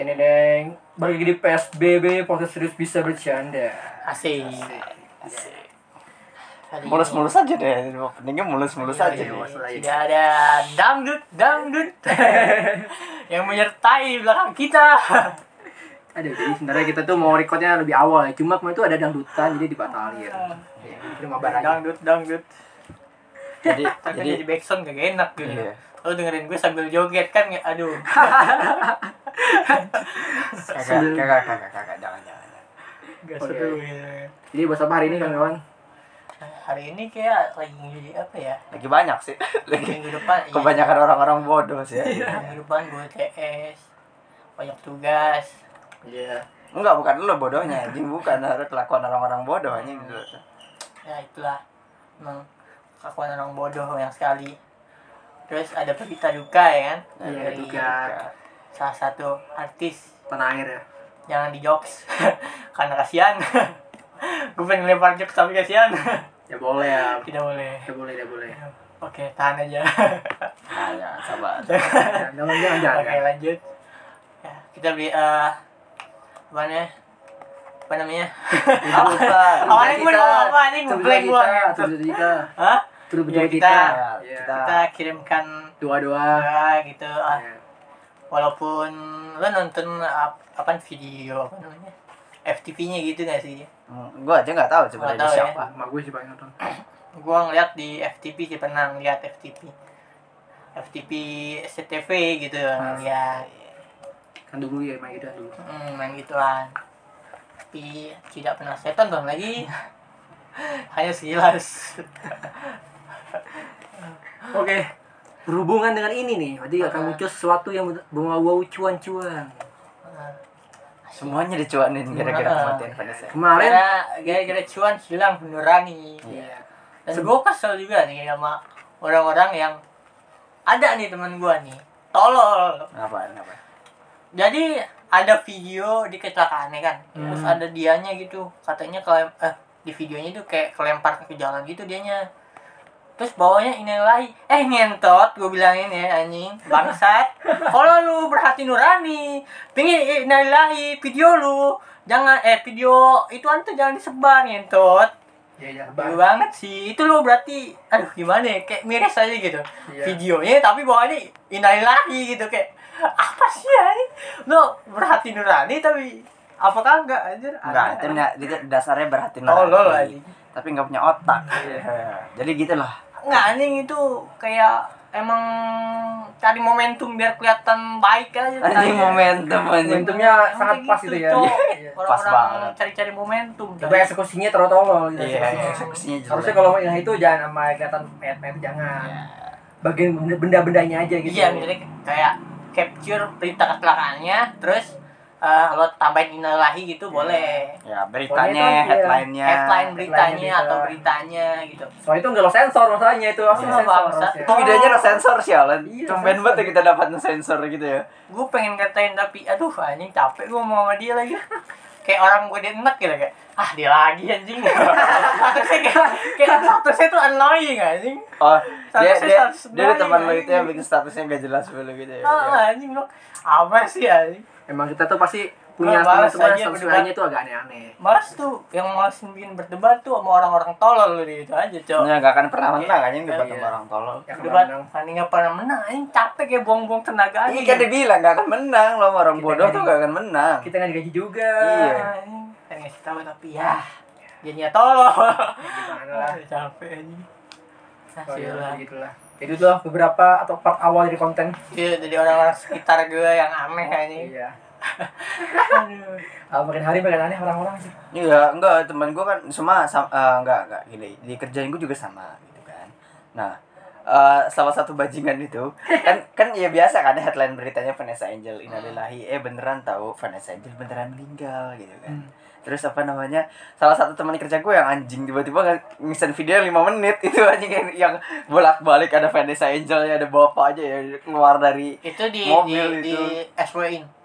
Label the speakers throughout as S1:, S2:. S1: ini Neng Balik lagi di PSBB Podcast Serius Bisa Bercanda
S2: Asik.
S1: Asik.
S2: Hari ini
S3: mulus-mulus aja deh openingnya mulus-mulus
S1: Iya,
S3: aja
S1: iya,
S3: deh.
S1: mulus. aja.
S2: Tidak ada dangdut, dangdut yang menyertai di belakang kita.
S1: Aduh jadi sebenarnya kita tuh mau recordnya lebih awal ya Cuma kemarin tuh ada dangdutan jadi dibatalin Ya, Terima kasih
S2: dangdut, dangdut.
S3: jadi
S2: Tapi
S3: jadi
S2: jadi backsound gak enak gitu.
S3: Iya.
S2: Kalau dengerin gue sambil joget kan nggak- aduh.
S3: kakak
S1: sebelum-
S3: kakak kakak kakak jangan jangan jangan.
S2: Gak
S1: Oke.
S2: seru gitu.
S1: Jadi buat apa hari ini kawan-kawan?
S2: Nah, Hari ini kayak lagi apa ya?
S3: lagi banyak sih lagi
S2: Minggu depan iya.
S3: kebanyakan orang-orang bodoh sih
S2: Minggu depan gue TS. Banyak tugas.
S1: Iya
S3: enggak bukan lo bodohnya anjing bukan harus kelakuan orang-orang bodoh anjing gitu.
S2: ya itulah emang kelakuan orang bodoh yang sekali terus ada berita duka ya kan
S1: Iya,
S2: dari
S1: duka.
S2: salah satu artis
S1: Tanah air ya
S2: jangan di jokes karena kasihan gue pengen lempar jokes tapi kasihan
S1: Ya boleh ya
S2: tidak boleh
S1: Ya boleh, ya boleh
S2: oke tahan aja
S3: Ah, ya, sabar
S1: Jangan, jangan, jangan, jangan.
S2: oke lanjut ya, kita beli eh apa namanya apa namanya awalnya gue udah ngomong apa anjing blank gue
S1: Terus kita
S2: Hah?
S1: Terus
S2: Iya,
S1: kita
S2: kita-
S1: Iya.
S3: kita-
S2: kita kirimkan
S1: Dua-dua
S2: ya, gitu ah,
S1: Iya.
S2: walaupun lo nonton ap, apaan video apa namanya FTV-nya gitu gak sih?
S3: gue aja nggak tahu
S2: Nggak
S3: sebenarnya
S2: tahu ya.
S3: siapa
S1: Mak gue sih paling nonton
S2: Gua ngeliat di FTV sih pernah ngeliat FTV. FTV SCTV gitu
S1: Ah,
S2: ngeliat.
S1: Kan dulu ya main kita dulu
S2: Hmm, main gituan. Tapi tidak pernah saya tonton lagi. Hanya sekilas.
S1: Oke. Berhubungan dengan ini nih, berarti akan
S2: Ah.
S1: muncul sesuatu yang membawa cuan-cuan.
S3: semuanya dicuanin gara-gara
S2: Nah.
S3: kematian Vanessa
S1: Kemarin
S2: Karena gara-gara cuan hilang menurani.
S1: Iya.
S2: Dan gue kesel juga nih sama orang-orang yang ada nih teman gue nih. Tolol.
S3: apa apa
S2: Jadi ada video di kecelakaan ya kan. Terus ada dianya gitu. Katanya kelem eh di videonya itu kayak kelempar ke jalan gitu dianya. Terus bawahnya ini lagi, eh ngentot gue bilangin ya anjing bangsat. Kalau lu berhati nurani, pingin inalilahi video lu jangan eh video itu tuh jangan disebar ngentot.
S1: Iya,
S2: Baru banget sih. Itu lo berarti aduh gimana ya? Kayak miris aja gitu.
S1: Iya.
S2: Videonya tapi bawahnya inailahi gitu kayak apa sih ya ini? Lo berhati nurani tapi apakah enggak anjir?
S3: Enggak,
S2: Ada.
S3: itu enggak, itu dasarnya berhati
S2: Tolol Iya.
S3: nurani.
S2: lagi.
S3: Tapi enggak punya otak. Jadi gitu lah.
S2: Enggak anjing itu kayak emang cari momentum biar kelihatan baik aja.
S3: Anjing momentum anjing.
S1: Momentumnya
S2: Emang
S1: sangat
S2: kayak
S1: pas
S2: gitu,
S1: gitu ya.
S2: Cok.
S1: Iya.
S2: Orang-orang
S3: banget.
S2: cari-cari momentum.
S1: Tapi eksekusinya terlalu tolol gitu.
S3: Iya,
S1: eksekusinya.
S3: eksekusinya jelek.
S1: Harusnya kalau yang itu jangan sama kelihatan mayat-mayat itu jangan. Bagian benda- benda-bendanya aja gitu.
S2: Iya, misalnya kayak capture berita kecelakaannya, terus eh, lo tambahin inalahi gitu
S1: Iya.
S2: boleh.
S3: ya beritanya,
S1: Pokoknya itu,
S2: iya.
S3: headline-nya.
S2: Headline
S1: Headline-nya
S2: beritanya
S1: berita.
S2: atau beritanya gitu.
S1: Soalnya itu enggak lo sensor masalahnya itu. Harusnya
S2: Iya,
S1: sensor
S2: bangsa.
S1: harusnya.
S3: Itu videonya lo sensor sialan.
S1: Iya,
S3: Tumben
S1: sensor.
S3: banget ya kita dapat sensor gitu ya.
S2: Gue pengen ngatain tapi aduh anjing capek gue mau sama dia lagi. kayak orang gue dia enak gitu kayak ah dia lagi anjing. statusnya kayak, kayak statusnya tuh annoying anjing.
S3: Oh, dia
S2: Statusnya
S3: dia
S2: status
S3: dia ada
S2: doang,
S3: teman lo itu
S2: anjing.
S3: yang bikin statusnya enggak jelas dulu gitu ya.
S1: Oh,
S2: Ah, anjing lo apa sih anjing?
S1: Emang kita tuh pasti punya
S2: Gua balas
S1: teman-teman
S2: aja
S1: yang
S2: berdebat.
S1: sebenarnya itu agak aneh-aneh.
S2: Males tuh yang males bikin berdebat tuh sama orang-orang tolol gitu aja, Cok.
S3: Ya enggak akan pernah menang anjing debat
S1: oh. Iya.
S3: sama orang tolol.
S1: Ya,
S2: Debat
S1: kemarin
S2: tanding apa pernah menang, ini capek kayak buang-buang tenaga aja. gitu.
S3: Ini kan dia bilang enggak akan menang lo sama orang
S1: Kita
S3: bodoh
S1: kan-
S3: tuh enggak akan menang.
S1: kita nggak digaji juga.
S3: Iya.
S2: Kan ngasih tahu tapi ya jadinya tolol.
S1: Gimana lah.
S2: Ah, capek aja. Nah,
S1: Oh, iya,
S2: siulah.
S1: begitulah. Jadi itu loh beberapa atau part awal dari konten.
S2: Iya, dari orang-orang sekitar gue yang aneh anjing.
S1: Iya.
S2: Aduh.
S1: Ah, makin hari makin aneh orang-orang sih.
S3: Iya, enggak, teman gue kan semua sama, eh, enggak, enggak gini. Di kerjaan gue juga sama gitu kan. Nah, eh, salah satu bajingan itu kan kan ya biasa kan headline beritanya Vanessa Angel inalilahi eh beneran tahu Vanessa Angel beneran meninggal gitu kan. Terus apa namanya? Salah satu teman kerja gue yang anjing tiba-tiba nge- ngisen video 5 menit itu anjing yang, yang bolak-balik ada Vanessa Angel ya ada bapak aja ya keluar dari
S2: Itu di
S3: Mobil
S2: di,
S3: itu.
S2: di SW-in.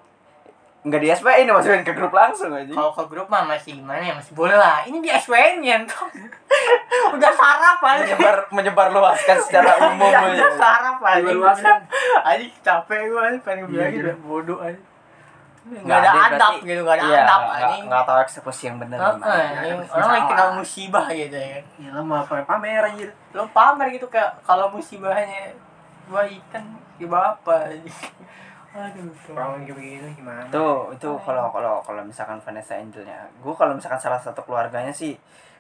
S3: enggak di SP ini masukin ke grup langsung anjing.
S2: Kalau ke grup mah masih gimana ya, masih boleh lah. Ini di SW-in nyentuh. Udah sarap aja.
S3: menyebar menyebar luaskan
S2: Iya,
S3: secara umum
S2: Udah
S3: ya.
S2: sarap aja.
S1: Diluaskan.
S2: Anjing capek gue anjing
S1: Iya,
S2: pengen bilang gitu bodoh aja. nggak ada adab
S3: berarti-
S2: gitu nggak ada
S3: iya,
S2: adab
S3: nggak-
S2: anjing
S3: nggak tahu eksekusi yang benar
S2: Heeh, anjing. orang lagi kena musibah gitu ya kan.
S1: Ya lo mau pamer pamer anjir.
S2: lo pamer gitu kayak kalau musibahnya gua ikan di bapak aduh
S1: Orang lagi begini gimana?
S3: itu itu kalau kalau kalau misalkan Vanessa Angelnya gue kalau misalkan salah satu keluarganya sih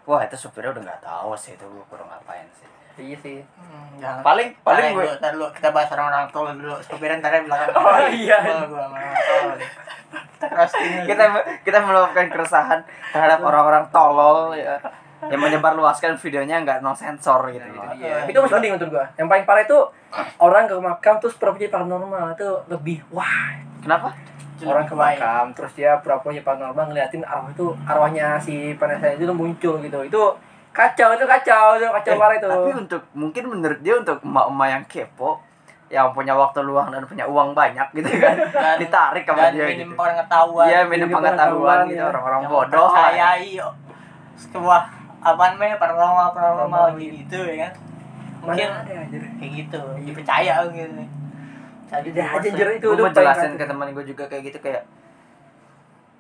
S3: wah itu supirnya udah nggak tahu sih itu gue kurang ngapain sih
S1: Iya sih.
S2: Hmm, jangan
S3: paling paling gue
S2: ntar dulu kita bahas orang orang tua dulu sopiran ntar di belakang
S3: Oh, iya.
S2: Kalau gua sama orang tua deh. kita roasting dulu.
S3: kita kita meluapkan keresahan terhadap orang-orang tolol ya yang menyebar luaskan videonya nggak non sensor gitu
S1: Nah, itu
S2: Iya,
S3: loh.
S1: dia. Tapi itu masih mending menurut gua. Yang paling parah itu orang ke makam terus pura paranormal itu lebih wah.
S3: Kenapa?
S2: Itu
S1: Orang ke
S2: lebih baik.
S1: makam terus dia pura-pura paranormal ngeliatin arwah itu arwahnya si Vanessa itu muncul gitu. Itu kacau itu kacau itu kacau
S3: Eh,
S1: parah itu.
S3: Tapi untuk mungkin menurut dia untuk emak-emak yang kepo yang punya waktu luang dan punya uang banyak gitu kan
S2: Dan-
S3: ditarik sama
S2: dan
S3: dia
S2: minim
S3: gitu.
S2: pengetahuan
S3: Iya, minim
S1: Minim
S3: pengetahuan
S1: pengetahuan,
S3: gitu
S1: ya.
S3: orang-orang
S2: Yang
S3: bodoh. lah.
S2: mempercayai sebuah apaan meh paranormal paranormal
S1: Paranormal. iya.
S2: gitu ya kan
S1: Mana
S2: mungkin
S1: ada anjir.
S2: kayak gitu dipercaya gitu tadi
S1: Udah aja anjir itu
S3: gue
S1: udah
S3: mau jelasin ke teman gue juga kayak gitu kayak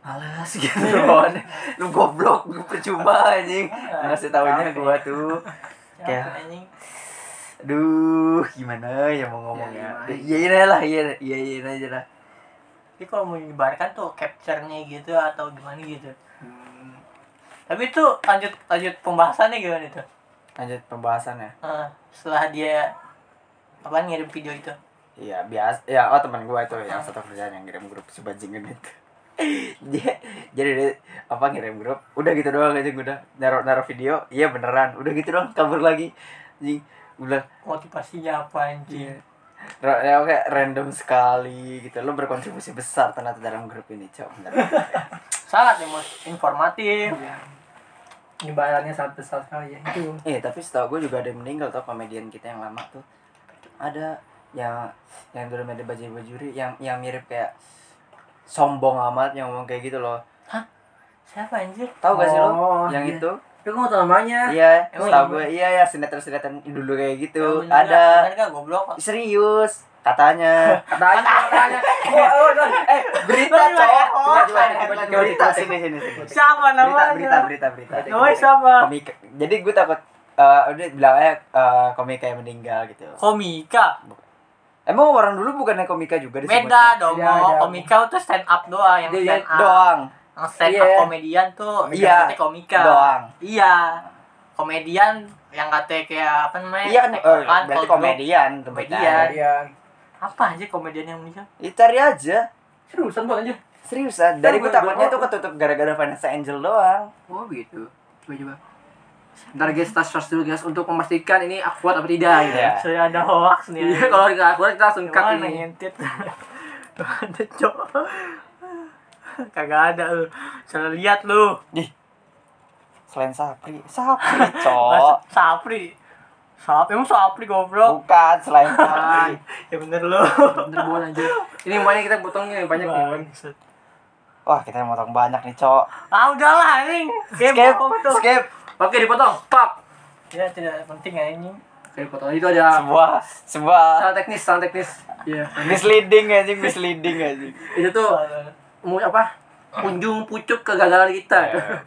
S3: males gitu Ron lu goblok lu percuma anjing ngasih tahunya gue tuh Kayak-
S2: anjing
S3: aduh gimana ya mau ngomongnya
S1: Ya,
S3: ya iya lah iya iya iya aja lah
S2: Jadi kalau mau menyebarkan tuh capture-nya gitu atau gimana gitu.
S1: Hmm.
S2: Tapi itu lanjut lanjut pembahasannya gimana itu?
S3: lanjut pembahasannya
S2: Eh, setelah dia apa ngirim video itu?
S3: Iya biasa ya oh teman gue itu yang satu kerjaan yang ngirim grup si bajingan itu dia jadi dia apa ngirim grup udah gitu doang aja gue udah naruh naruh video iya beneran udah gitu doang kabur lagi anjing gue bilang
S2: Motivasinya apa anjir?
S3: "Ra- ya oke random sekali gitu lo berkontribusi besar ternyata dalam grup ini cok beneran."
S2: Sangat emo- informatif.
S1: Iya. Imbalannya sangat besar sekali ya itu.
S3: eh tapi setahu gue juga ada yang meninggal tau komedian kita yang lama tuh ada yang yang dulu ada bajai bajuri yang yang mirip kayak sombong amat yang ngomong kayak gitu loh
S2: Siapa anjir?
S3: tahu gak sih lo
S1: Oh,
S3: yang
S1: iya.
S3: itu
S1: Tapi gue gak tau namanya.
S3: Iya,
S2: Emang
S3: setahu
S2: iya?
S3: gue iya ya sinetron-sinetron dulu kayak
S2: Yang
S3: gitu.
S2: bener
S3: ada
S2: nggak? Bener gak goblok?
S3: serius katanya.
S1: Katanya katanya. Oh, oh, oh.
S3: eh, berita
S2: Bener,
S3: cowok.
S2: oh,
S3: Coba, coba,
S2: ada
S3: coba,
S1: berita.
S3: coba, Berita sini sini sini.
S2: Siapa
S3: Berita
S2: namanya?
S3: berita berita berita.
S2: Namanya siapa?
S3: Komik. Jadi gue takut eh udah bilang aja eh, komika yang meninggal gitu.
S2: Komika.
S3: Emang orang dulu bukannya komika juga disebutnya?
S2: Beda dong.
S1: Beda,
S2: Mo.
S1: beda.
S2: Komika tuh stand up doang yang
S1: Dia- dia
S2: stand up.
S3: Iya, Doang,
S2: Yang stand
S1: Iya.
S2: up komedian tuh
S3: Iya.
S2: ibaratnya komika.
S3: doang.
S2: Iya. Komedian yang katanya kayak apa namanya?
S3: Iya kan, eh,
S2: tektokan,
S3: berarti
S2: kalau
S3: komedian
S2: Komedian.
S3: tempatnya.
S1: Kalian.
S2: dulu- Apa aja komedian yang meninggal?
S3: Ih, Cari aja,
S1: Seriusan banget anjir.
S3: seriusan. Dari gue
S1: Kan gue-
S3: takutnya tuh ketutup gara-gara Vanessa Angel doang.
S1: Oh gitu. Coba coba. Ntar guys, kita search dulu guys untuk memastikan ini akurat apa tidak gitu.
S3: Iya.
S2: Saya ada hoax nih.
S1: Iya, kalau tidak akurat kita langsung cut
S2: Gimana
S1: ini.
S2: ngintip? Ada cok. Kagak ada lu. Salah lihat lu.
S3: Selain Sapri, Sapri
S2: Mas
S3: cok.
S2: Sapri. Sap, emang Sapri goblok.
S3: Bukan selain Sapri.
S2: Ya bener lu.
S1: Bener bola anjir. Ini makanya kita potongnya banyak ya. nih.
S2: Bangsat.
S3: Wah kita yang motong banyak nih cok.
S2: Ah udahlah anjing. Skip.
S3: Skip,
S2: tuh.
S3: skip.
S1: Oke, dipotong. Pak.
S2: Ya tidak penting anjing.
S1: Oke, dipotong. Itu ada
S3: Sebuah sebuah
S1: salah teknis, salah teknis. Iya.
S3: misleading anjing, misleading anjing.
S1: Itu tuh mu
S2: Oh,
S1: apa? Punjung pucuk kegagalan kita.
S3: Iya.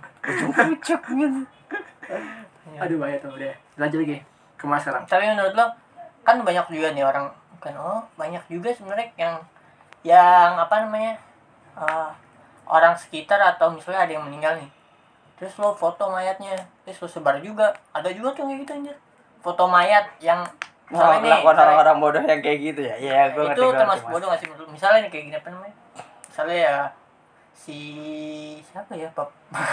S3: Pucuk gitu.
S1: Aduh, bahaya tuh udah. Lanjut lagi. Kemana sekarang?
S2: tapi menurut lo kan banyak juga nih orang kan oh banyak juga sebenarnya yang yang apa namanya eh, orang sekitar atau misalnya ada yang meninggal nih terus lo foto mayatnya terus lo sebar juga ada juga tuh kayak gitu anjir foto mayat yang misalnya nih
S3: Lakukan Nah, orang-orang bodoh yang kayak gitu ya. Iya,
S2: misalnya- itu
S3: gue ngerti. Oh, gua ngerti,
S2: termasuk
S3: Mas.
S2: bodoh nggak sih menurut lo? misalnya nih kayak gini apa namanya misalnya ya si siapa ya bab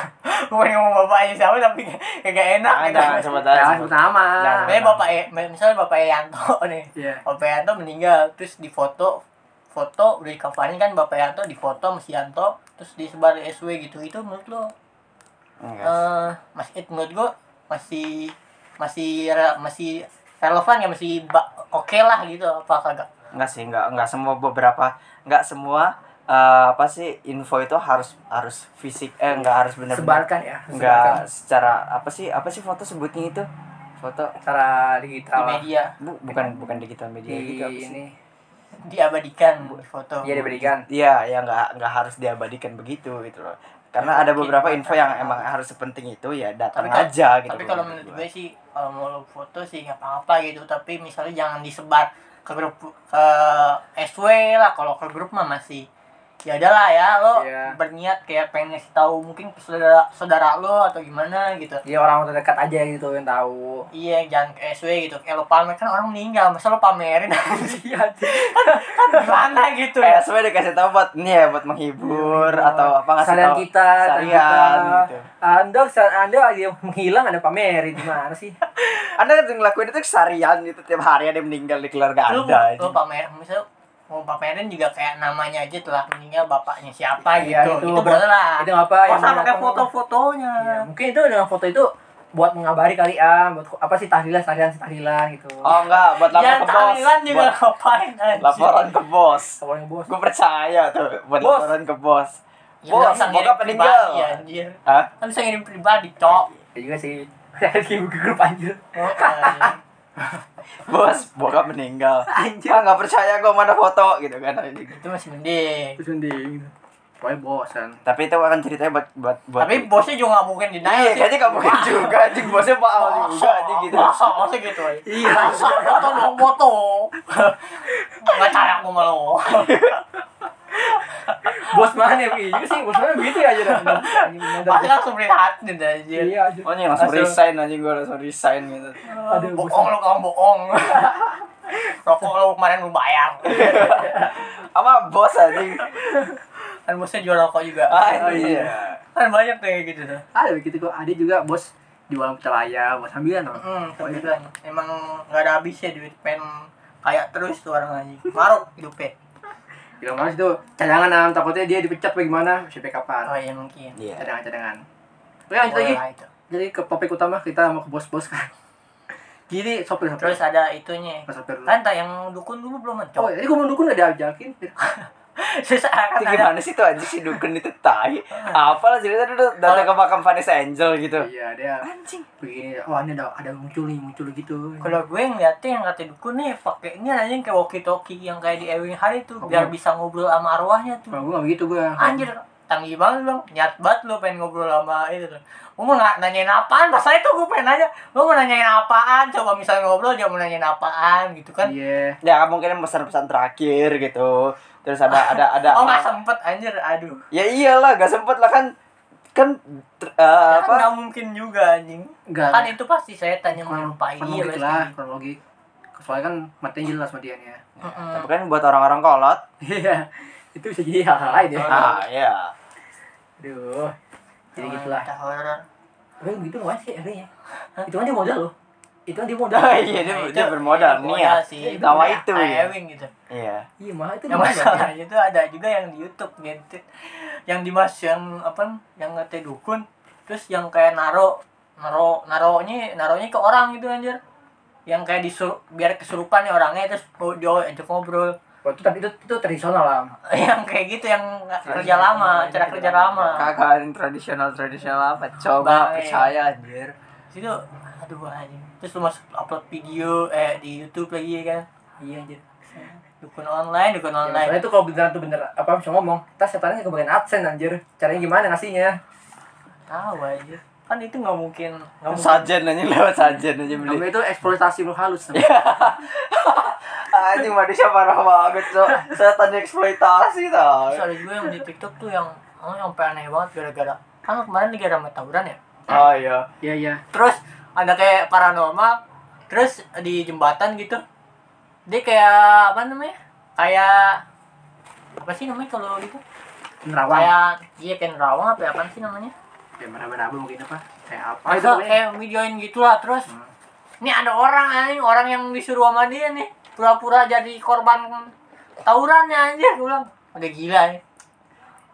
S2: gue pengen ngomong bapaknya siapa tapi kagak enak
S3: Jangan,
S2: gitu.
S3: jangan sebut aja.
S1: Ya,
S3: Nah, sebut.
S1: pertama.
S3: Jangan.
S2: Misalnya bapak E- misalnya bapak Yanto nih
S1: Iya.
S2: Bapak Yanto meninggal terus di foto foto udah dikafanin kan Bapak Yanto di foto sama si Yanto terus disebar di SW gitu itu menurut lo
S3: Enggak.
S2: eh mas it menurut gua masih masih re- masih relevan ya masih ba- oke lah gitu apa kagak
S3: Enggak sih, enggak enggak semua beberapa enggak semua eh, apa sih info itu harus harus fisik eh enggak harus benar-benar
S1: Sebarkan ya. Sebarkan.
S3: enggak secara apa sih apa sih foto sebutnya itu foto
S1: Cara
S2: di
S1: digital.
S2: media
S3: Bu- bukan bukan digital media
S1: di
S3: Iya, gitu apa sih?
S1: ini
S2: diabadikan di foto.
S1: Iya diberikan.
S3: Iya, ya nggak nggak harus diabadikan begitu gitu loh. Karena ada beberapa info yang emang harus sepenting itu ya datang
S2: Tapi kalau-
S3: aja gitu.
S1: Nah,
S2: tapi kalau menurut gue sih kalau mau lo foto sih nggak apa-apa gitu tapi misalnya jangan disebar ke grup ke SW lah kalau ke grup mah masih ya adalah ya lo
S1: Iya.
S2: berniat kayak pengen ngasih tahu mungkin ke saudara saudara lo atau gimana gitu
S1: Iya orang terdekat aja gitu yang tahu.
S2: iya jangan ke SW gitu kayak lo pamer kan orang meninggal masa lo pamerin
S1: Iya.
S2: kan gimana gitu
S3: Eh, sebenarnya dikasih tahu buat ini ya buat menghibur
S1: ya. Iya.
S3: atau apa ngasih
S1: Salian
S3: tahu
S1: kita, salian
S3: salian
S1: kita.
S3: gitu.
S1: Anda Anda lagi menghilang ada pamerin gimana sih?
S3: Anda ngelakuin itu sarian gitu tiap hari ada yang meninggal di keluarga
S2: lo,
S3: Anda. aja.
S2: lo pamer misalnya mau pamerin juga kayak namanya aja telah meninggal bapaknya siapa
S1: Iya, itu
S2: gitu itu
S1: ber-
S2: boleh lah
S1: Itu apa
S2: Masa
S1: yang
S2: pakai
S1: datang-
S2: foto-fotonya
S1: Iya, mungkin itu dengan foto itu buat mengabari kali ah, buat apa sih tahlilan tahlilan tahlilan gitu.
S3: Oh enggak, buat lapor
S2: Ya
S3: ke bos.
S2: Thailand juga
S3: Buat
S2: ngapain aja.
S3: laporan ke bos.
S1: Sama yang bos.
S3: Gue percaya tuh buat
S1: Bos.
S3: laporan ke bos.
S2: Ya,
S3: Bos,
S2: nggak usah
S3: semoga
S2: ngirim
S3: peninggal.
S2: pribadi, anjir.
S3: Hah?
S2: Kan bisa ngirim pribadi, cok.
S1: Ya juga sih. Lagi ke grup anjir.
S2: Oh, eh.
S3: Bos, bokap meninggal.
S1: Anjir.
S3: Ah nggak percaya gue mana foto gitu kan.
S2: itu masih mending.
S1: Terus mending. gitu. Pokoknya bosan.
S3: Tapi itu akan ceritanya buat buat buat.
S2: Tapi bosnya juga nggak mungkin denial
S3: Iya,
S2: sih.
S3: kayaknya nggak mungkin juga anjing bosnya Pak Al juga anjing gitu.
S2: Masa, masa gitu aja.
S1: Iya.
S2: Masa foto mau foto. Nggak sayang sama lo.
S1: Bos mana ya? Iya juga sih, bos mana begitu ya aja. Dan- anjing, bener.
S2: Pasti langsung prihatin anjir.
S1: Iya aja.
S3: Oh anjing langsung
S1: Langsung.
S3: resign anjing gue langsung resign gitu.
S1: Aduh,
S2: bohong
S1: bos.
S2: lo kamu bohong. Rokok lo kemarin lu bayar.
S3: Sama bos anjing.
S2: Kan bosnya jual rokok juga.
S1: Oh,
S3: Ah
S1: iya.
S3: iya.
S2: Kan banyak tuh kayak gitu tuh.
S1: Ada begitu kok. Ada juga bos jualan pecel ayam, bos sambilan orang.
S2: Hmm, kebetulan. Emang nggak ada habisnya duit pen kayak terus tuh orang anjing. Maruk ya. hidupnya.
S1: Bilang mas itu cadangan am takutnya dia dipecat bagaimana? Sampai
S2: Oh
S1: kapan?
S2: iya mungkin.
S3: Iya.
S1: Cadangan-cadangan. Oke lanjut
S2: Boleh
S1: lagi.
S2: lah itu.
S1: Jadi ke topik utama kita mau ke bos-bos kan. Jadi sopir sopir.
S2: Terus ada itunya.
S1: Mas sopir dulu.
S2: Kan tak yang dukun dulu
S1: Oh,
S2: belum mencok.
S1: jadi gue mau dukun gak diajakin.
S2: Sesaat
S3: iya. Itu
S2: ada.
S3: gimana sih tuh anjing si Dukun itu tai. Apalah cerita dulu datang
S2: Oh.
S3: ke makam Vanessa Angel gitu.
S1: Iya, dia
S3: Anjing.
S1: begini. Oh, ini ada ada muncul nih, muncul gitu.
S2: Kalau gue ngeliatnya yang kata dukun nih pakainya anjing kayak walkie talkie yang kayak di Ewing Hari tuh
S1: Oh,
S2: biar
S3: iya.
S2: bisa ngobrol sama arwahnya tuh.
S3: Oh,
S1: Kalau gue gak begitu gue.
S2: Anjir, tanggih banget dong. Niat banget lo pengen ngobrol sama itu tuh. Gue mau na- nanyain apaan? Pas itu gue pengen nanya, lo mau nanyain apaan? Coba misalnya ngobrol jangan mau nanyain apaan gitu kan.
S1: Iya.
S3: Ya mungkin pesan-pesan terakhir gitu. Terus ada ada ada
S2: Oh nggak sempet anjir, aduh.
S3: Ya iyalah, gak sempet lah kan kan ter- eh,
S2: Kan
S3: apa?
S2: nggak mungkin juga anjing.
S1: Enggak.
S2: Kan itu pasti saya tanya menyerupai
S1: Kronologi
S2: dia iya,
S3: gitu
S2: pasti.
S1: Kan lah, kronologi. Soalnya kan matinya jelas matiannya.
S2: Mm-mm.
S3: Tapi kan buat orang-orang kolot.
S1: ya. Iya. itu bisa jadi hal lain ya.
S2: Ah.
S3: Ah, iya.
S1: Aduh. Jadi gitu
S3: gitu
S2: Orang
S1: gitulah.
S2: minta horor.
S1: Tapi gitu nggak sih akhirnya. Itu kan dia modal loh. Itu kan dia modal.
S3: Oh, iya, dia,
S2: Nah,
S3: dia
S2: itu-
S3: bermodal nih ya.
S2: Modal sih.
S3: Tawa
S2: Kayak
S3: itu ya.
S2: Ewing gitu.
S3: Iya.
S1: Iya, mah itu
S2: Yang masalahnya itu ada juga yang di YouTube gitu. Yang dimas yang apa yang ngeteh dukun terus yang kayak naro naro naronya naronya ke orang gitu anjir. Yang kayak disur biar kesurupan nih orangnya terus oh, dia ajak ngobrol.
S1: Wah, itu tapi itu itu tradisional lah.
S2: yang kayak gitu yang nggak kerja lama, cara
S3: gitu
S2: kerja
S3: kan.
S2: lama.
S3: Kakak yang tradisional tradisional apa?
S2: Bang,
S3: Coba
S2: eh.
S3: percaya anjir.
S2: Situ aduh anjing. Terus lu masuk upload video eh di YouTube lagi ya kan.
S1: Iya anjir.
S2: Dukun online, dukun
S1: Ya,
S2: online.
S1: masalahnya itu kalau beneran tuh bener apa bisa ngomong, tas setannya ke bagian adsense anjir. Caranya gimana ngasihnya?
S2: tahu aja kan itu nggak mungkin nggak mungkin
S3: Sajen aja lewat sajen aja beli.
S1: Kamu itu eksploitasi lu halus. Sam.
S3: Anjing manusia parah banget, so. Setan eksploitasi tau.
S2: Terus ada juga yang di TikTok tuh yang oh, yang sampai aneh banget gara-gara kan kemarin lagi ramai tawuran ya
S3: Oh iya.
S1: Iya, iya.
S2: terus ada kayak paranormal terus di jembatan gitu dia kayak apa namanya kayak apa sih namanya kalau gitu
S1: Nerawang.
S2: kayak dia kayak nerawang apa ya, apaan sih namanya
S1: Ya meraba-raba mungkin apa? Kayak apa itu
S2: masa
S1: pokoknya.
S2: kayak videoin gitulah terus
S1: Hmm.
S2: ini ada orang anjing orang yang disuruh sama dia nih pura-pura jadi korban tawuran ya anjir gue bilang udah gila ya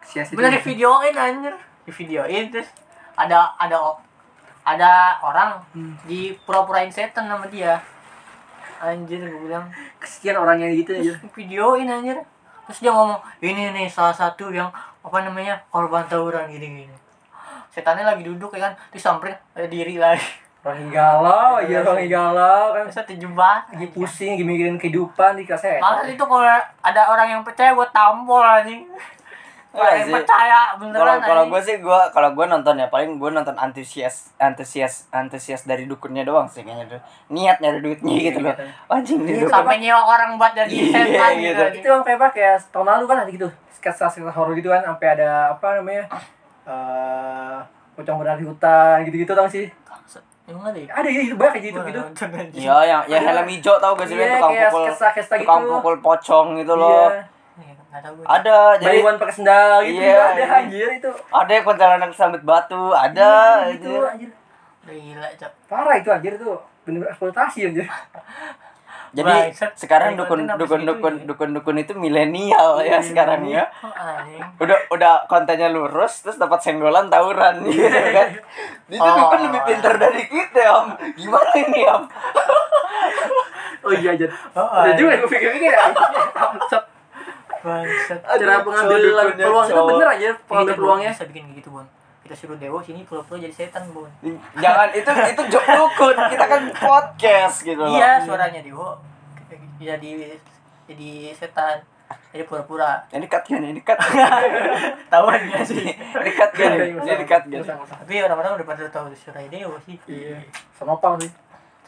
S1: Sia
S2: bener di videoin anjir di videoin terus ada ada o- ada orang
S1: Hmm.
S2: di pura-purain setan sama dia anjir gue bilang
S1: Kesian orangnya gitu aja.
S2: terus videoin anjir terus dia ngomong ini nih salah satu yang apa namanya korban tawuran gini gini setannya lagi duduk ya kan terus samperin ada diri lagi
S1: Rohinggalau aja Rohinggalau kan
S2: Bisa terjebak.
S1: lagi pusing, lagi mikirin kehidupan di kaset.
S2: Malah itu kalau ada orang yang percaya gue tampol anjing. Kalau
S3: Iya
S2: yang
S3: sih.
S2: percaya
S3: kalau
S2: beneran.
S3: kalau
S2: anjing.
S3: gue sih gue kalau gue nonton ya paling gue nonton antusias antusias antusias dari dukunnya doang sih kayaknya tuh niat nyari duitnya gitu loh anjing
S2: Iya,
S3: di dukun
S2: sampai nyewa orang buat jadi
S3: Iya,
S2: setan
S3: gitu.
S2: gitu.
S1: itu yang kayak apa kayak tahun lalu kan ada gitu sketsa sketsa horor gitu kan sampai ada apa namanya eh pocong berlari hutan gitu gitu tau gak sih
S2: Emang ada ya?
S1: ada ya itu banyak kayak gitu gitu
S3: Iya, yang yang helm hijau tau gak sih lu yang
S1: Iya,
S3: tukang
S1: kayak
S3: pukul
S1: sketsa-sketsa gitu.
S3: tukang pukul pocong gitu loh.
S1: iya
S2: Nggak tahu gue.
S3: Ada
S1: jadi
S3: jadi
S1: pakai sendal gitu
S3: Iya,
S1: juga ada
S3: iya.
S1: anjir itu
S3: ada yang kuntilanak sambit batu, ada
S1: gitu
S3: anjir.
S1: anjir
S2: Udah gila, Cok.
S1: parah itu anjir itu bener eksploitasi anjir
S3: Jadi
S2: Bangsat.
S3: sekarang
S2: Dari
S3: dukun
S2: konten habis
S3: dukun
S2: gitu
S3: dukun
S2: ya.
S3: dukun dukun itu milenial ya sekarang ya.
S2: Oh, anjing.
S3: Udah udah kontennya lurus terus dapat senggolan tawuran gitu kan. Itu
S2: Oh.
S3: dukun lebih pintar dari kita, Om. Gimana ini, Om?
S1: oh iya anjir
S2: Oh,
S1: ada
S2: anjing.
S1: juga gue pikir-pikir ya Bangsat.
S2: Bangsat.
S1: cara
S3: Aduh,
S1: pengambil
S3: cowok,
S1: peluang itu
S3: cowok.
S1: bener anjir pengambil
S2: Kita
S1: Ah, peluangnya
S2: bisa bikin gitu, Bon. Kita suruh Dewo sini pura-pura jadi setan, Bon.
S3: Jangan itu itu joke dukun. Kita kan podcast gitu loh.
S2: Iya, suaranya Dewo jadi jadi setan. Jadi pura-pura.
S3: Ini cut kan, ini cut.
S2: Tahuan gak sih?
S3: Ini cut
S1: Iya,
S3: kan, ini cut kan.
S1: gitu.
S2: Tapi orang-orang udah pada tahu suara Dewo sih.
S1: iya sama pang sih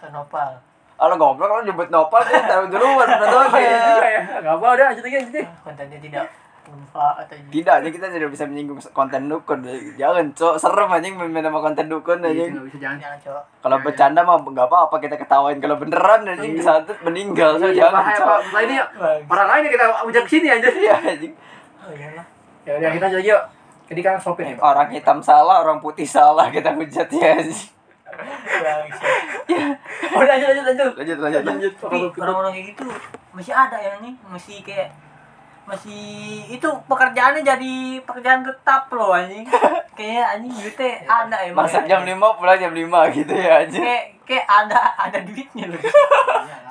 S2: Sanopal.
S3: Ah, lo goblok lo nyebut nopal tuh taruh duluan
S1: Iya juga
S3: penontonnya.
S1: ya nggak apa udah lanjut lagi lanjut lagi.
S2: Kontennya tidak bermanfaat atau
S3: Tidak, aja kita tidak bisa menyinggung konten dukun. Jangan, cok. Serem anjing main sama konten dukun
S1: Iya,
S3: anjing.
S1: nggak bisa jangan
S2: Jangan, Cok.
S3: Kalau bercanda mah enggak apa-apa kita ketawain. Kalau beneran anjing disantet meninggal. So,
S1: Iya,
S3: jangan,
S1: bahaya
S3: cok.
S1: pak. Nah ini orang lain yang kita ujak sini aja.
S3: Iya, anjing.
S2: Oh, iyalah.
S1: Ya udah kita aja yuk. Jadi kan sopir nih.
S3: Orang hitam salah, orang putih salah kita hujat ya anjing.
S2: Bangsat.
S1: Udah lanjut lanjut lanjut.
S3: Lanjut, lanjut. lanjut.
S2: ya. tapi orang-orang kayak gitu masih ada ya nih masih kayak masih itu pekerjaannya jadi pekerjaan tetap loh anjing kayak anjing duitnya ada emang
S3: Masak Iya. jam 5 pulang jam 5 gitu ya anjing.
S2: kayak kayak ada ada duitnya loh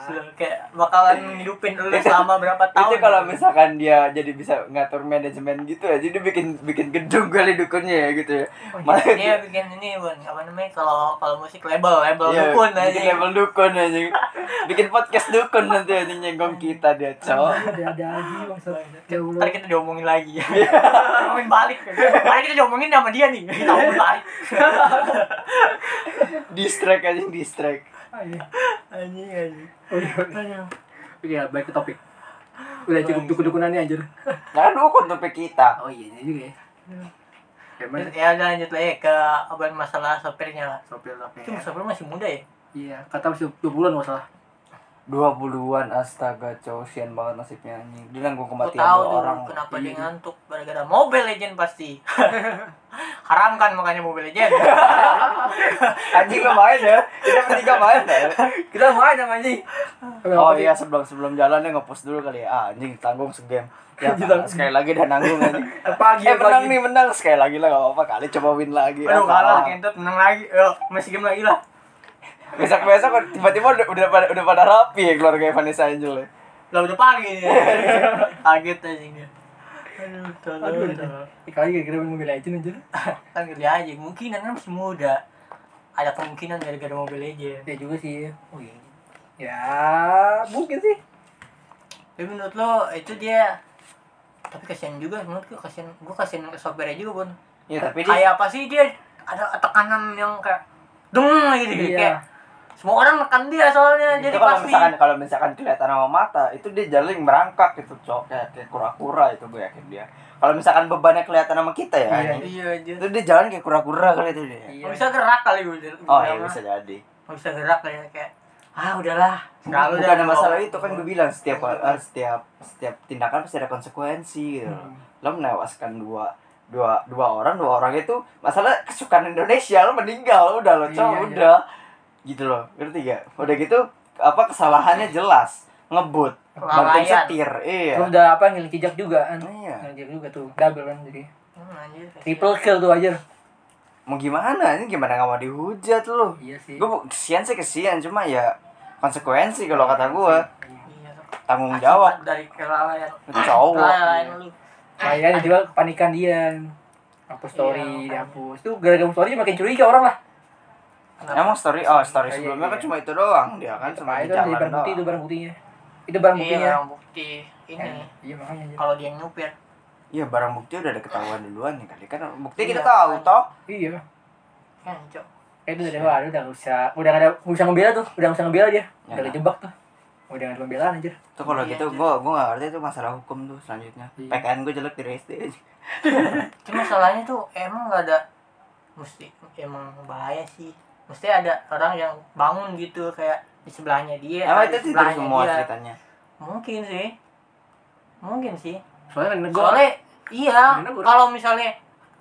S2: So, kayak bakalan hidupin lu selama berapa tahun
S3: Ah. Iya. itu kalau misalkan dia jadi bisa ngatur manajemen gitu ya jadi bikin bikin gedung kali dukunnya ya gitu ya malah
S2: Oh, iya. dia bikin ini bun apa namanya kalau kalau musik label label
S3: Iya,
S2: dukun
S3: bikin
S2: anjing
S3: label dukun anjing bikin podcast dukun nanti anjing nyenggong kita dia cowok
S1: Udah ada lagi maksud. Ya Allah.
S2: Ntar kita diomongin lagi ya. Diomongin balik. Karena kita diomongin sama dia nih. Kita omongin balik.
S3: distract anjing distract
S1: Ayo.
S2: Anjing anjing.
S1: Udah, udah.
S2: Aduh.
S1: iya. Oh, Oke, baik ke topik. Udah cukup dukun-dukunannya anjir.
S3: nah kan dukun topik kita
S1: Oh iya, ini juga ya. Eh, Emang
S2: Ya udah lanjut lagi ke abang masalah sopirnya lah.
S1: sopir sopir.
S2: Itu sopir masih muda ya?
S1: Iya, kata masih 20-an masalah.
S3: 20-an astaga cowok sian banget nasibnya anjing dia nanggung
S2: Gue
S3: kematian
S2: tahu
S3: dua
S2: tuh
S3: orang
S2: kenapa dia
S1: Iya.
S2: ngantuk gara-gara Mobile Legend pasti. Haramkan makanya Mobile Legend.
S3: anjing lo main ya kita bertiga main ya
S1: Kita main sama anjing.
S3: oh iya sebelum sebelum jalan dia ngepost dulu kali ya ah, anjing tanggung segame ya
S1: Ditanggung.
S3: sekali lagi dah nanggung anjing
S1: Pagi
S3: eh menang
S1: pagi.
S3: nih menang sekali lagi lah gak apa-apa kali coba win lagi
S2: Aduh
S3: Ah,
S2: kalah
S3: kalah.
S2: kentut menang lagi. Eh, masih game lagi lah.
S3: besok besok tiba-tiba udah udah pada, udah pada rapi ya keluarga Vanessa Angel ya.
S2: Lah udah pagi ini. Kaget anjing dia. Aduh,
S1: Aduh,
S2: tolong,
S1: anjing.
S2: tolong.
S1: Kali kira-kira main Mobile Legends anjir.
S2: Kan gede aja, mungkin kan masih muda. Ada kemungkinan gara-gara Mobile Legend.
S1: Ya juga sih. Oh iya. Ya, mungkin sih.
S2: Tapi menurut lo itu dia tapi kasihan juga menurut gue kasihan gue kasihan ke sopirnya juga bun
S3: Ya tapi dia
S2: kayak apa sih Iya, dia ada tekanan yang kayak deng gitu
S1: Iya.
S2: kayak semua orang nekan dia soalnya
S3: itu
S2: jadi
S3: kalau
S2: pasti
S3: misalkan kalau misalkan kelihatan sama mata itu dia jalan merangkak gitu cok kayak, kayak kura-kura itu gue yakin dia kalau misalkan bebannya kelihatan sama kita ya
S1: Iya.
S3: ini,
S2: iya aja
S3: itu dia jalan kayak kura-kura kali itu dia
S2: nggak bisa gerak kali gue bilang.
S3: oh iya bisa jadi
S2: nggak bisa gerak kali ya, kayak ah udahlah
S1: Nah,
S3: Bukan
S2: dah
S3: ada masalah
S2: bawa-
S3: itu kan gue bilang setiap
S2: Iya.
S3: eh, setiap setiap tindakan pasti ada konsekuensi gitu.
S1: Hmm.
S3: Lo menewaskan dua dua dua orang dua orang itu masalah kesukaan Indonesia lo meninggal udah lo
S1: Iya,
S3: cowok
S1: iya.
S3: udah gitu loh ngerti gak? Udah gitu apa kesalahannya jelas ngebut bantu
S2: Kelalaian.
S3: setir iya
S1: Terus udah apa ngiling kijak juga kan.
S3: Iya.
S1: Ngiling kijak juga tuh. Double kan jadi.
S2: Hmm, anjir, kasihan.
S1: Triple kill tuh aja.
S3: mau gimana ini gimana nggak mau dihujat lo
S1: Iya sih.
S3: gue kesian sih kesian cuma ya konsekuensi kalau kata gue
S2: Iya,
S3: tanggung jawab Oh, iya.
S2: akibat dari kelalaian
S1: Nah,
S3: Lo cowok
S2: kelalaian lu
S1: Kayaknya juga kepanikan dia. Hapus story,
S2: Iya, makanya.
S1: dihapus. Tuh gara-gara story makin curiga orang lah.
S2: Kenapa?
S3: Emang story oh story
S1: Iya,
S3: sebelumnya
S1: iya.
S3: kan cuma itu doang dia kan cuma
S1: Pak
S3: di
S1: itu dari
S3: jalan
S1: barang bukti itu
S3: doang.
S1: barang buktinya. Itu
S3: Kan
S1: barang
S2: Iya,
S1: buktinya.
S2: orang bukti ini.
S1: Iya makanya. jadi-
S2: Kalau dia yang nyupir,
S3: Iya barang bukti udah ada ketahuan duluan ya kali kan bukti
S2: Iya.
S3: kita tahu toh.
S1: Iya.
S2: kan cok.
S1: Eh, itu udah waduh udah nggak usah udah nggak ada nggak usah ngebela tuh udah nggak usah ngebela dia
S3: Ya,
S1: udah
S3: nah.
S1: kejebak tuh udah nggak ada pembelaan anjir
S3: Tuh kalau
S2: Iya,
S3: gitu
S2: iya.
S3: gua gua gak ngerti itu masalah hukum tuh selanjutnya.
S1: Iya.
S3: PKN gua jelek di SD.
S2: Iya, Cuma masalahnya tuh emang nggak ada mesti emang bahaya sih. Mesti ada orang yang bangun gitu kayak di sebelahnya dia.
S3: Emang
S2: atau
S3: itu
S2: di
S3: tidur
S2: sebelahnya
S3: semua
S2: dia.
S3: ceritanya.
S2: Mungkin sih. Mungkin sih.
S1: soalnya kan gue
S2: Soalnya iya,
S1: Karena gua-
S2: kalau misalnya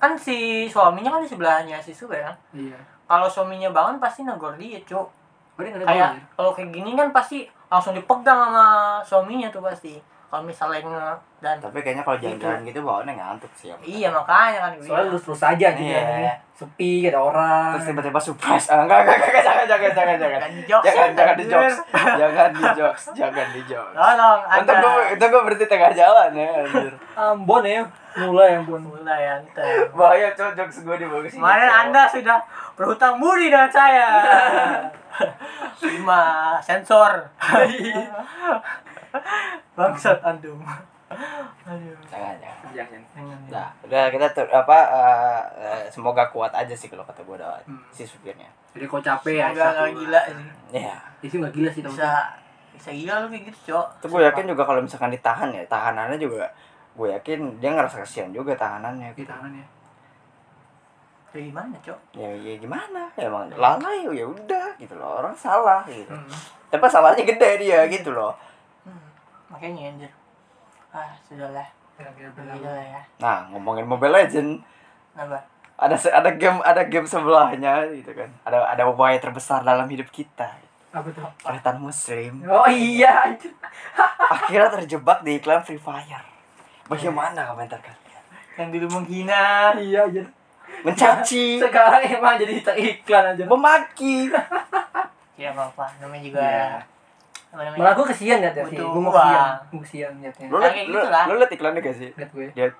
S2: kan si suaminya kan di sebelahnya si Super kan.
S1: iya
S2: Kalau suaminya bangun pasti negor dia, Cuk.
S1: gue nggak ada
S2: kayak
S1: gol, anjir.
S2: kalau kayak gini kan pasti langsung dipegang sama suaminya tuh pasti kalau misalnya nge dan
S3: Tapi kayaknya kalau jalan-jalan gitu bawaannya ngantuk sih. ya.
S2: iya makanya kan gue
S1: soalnya lurus lurus aja gitu
S3: Iya.
S1: ya sepi gak ada orang
S3: Terus tiba-tiba surprise. Ah, enggak, enggak, enggak, jangan, jangan, jangan, jangan.
S2: Jangan di jokes,
S3: Jangan,
S2: ya,
S3: jangan di
S2: anjir.
S3: jokes. Jangan di jokes, jangan di jokes.
S2: tolong
S3: Untung
S2: anda
S3: gua, untung gua berhenti tengah jalan ya, anjir.
S1: Ambon ya mulai Ambon
S2: mulai anda
S3: Bahaya cowok jokes gua dibagusin.
S2: Iya, kemarin anda sudah berhutang budi dengan saya lima sensor bangsat antum aduh
S3: Jangan, jangan.
S1: jangan
S2: Jangan, ya.
S3: Nah, udah kita tuh apa eh, eh, semoga kuat aja sih kalau kata gua doang
S1: Hmm.
S3: si supirnya.
S1: jadi kau capek ya
S2: Semoga nggak gila sih
S3: Iya.
S1: itu nggak gila sih
S2: bisa bisa gila lu kayak gitu cok
S3: Itu gue yakin juga kalau misalkan ditahan ya, tahanannya juga gue yakin dia ngerasa kasihan juga tahanannya.
S1: di
S3: gitu.
S1: tangan ya
S2: kayak gimana cok
S3: Ya, ya gimana? Ya, emang lalai ya udah gitu loh. Orang salah gitu.
S1: Hmm.
S3: Tapi salahnya gede dia gitu loh.
S2: Hmm, makanya anjir. Ah, sudahlah.
S1: benar-benar
S2: Sudahlah ya.
S3: Nah, ngomongin Mobile Legend,
S2: Kenapa?
S3: ada se- ada game ada game sebelahnya gitu kan. Ada ada upaya terbesar dalam hidup kita.
S1: apa tuh
S3: Pertan muslim
S1: oh iya anjir
S3: akhirnya terjebak di iklan Free Fire. Bagaimana komentar kalian?
S2: Yang dulu menghina.
S1: iya anjir
S3: Mencaci,
S1: sekarang emang jadi iklan aja
S3: memaki.
S2: Ya apa-apa, namanya juga
S1: Iya.
S2: apa namanya?
S1: malah gue kesian ya sih
S2: Butuh
S1: gue mau
S2: uang.
S1: kesian gue kesian liatnya
S3: Lu
S2: Kayak
S3: liat,
S2: gitu
S3: lu,
S2: lah.
S3: lu liat iklannya gak sih?
S1: liat gue
S3: Lihat.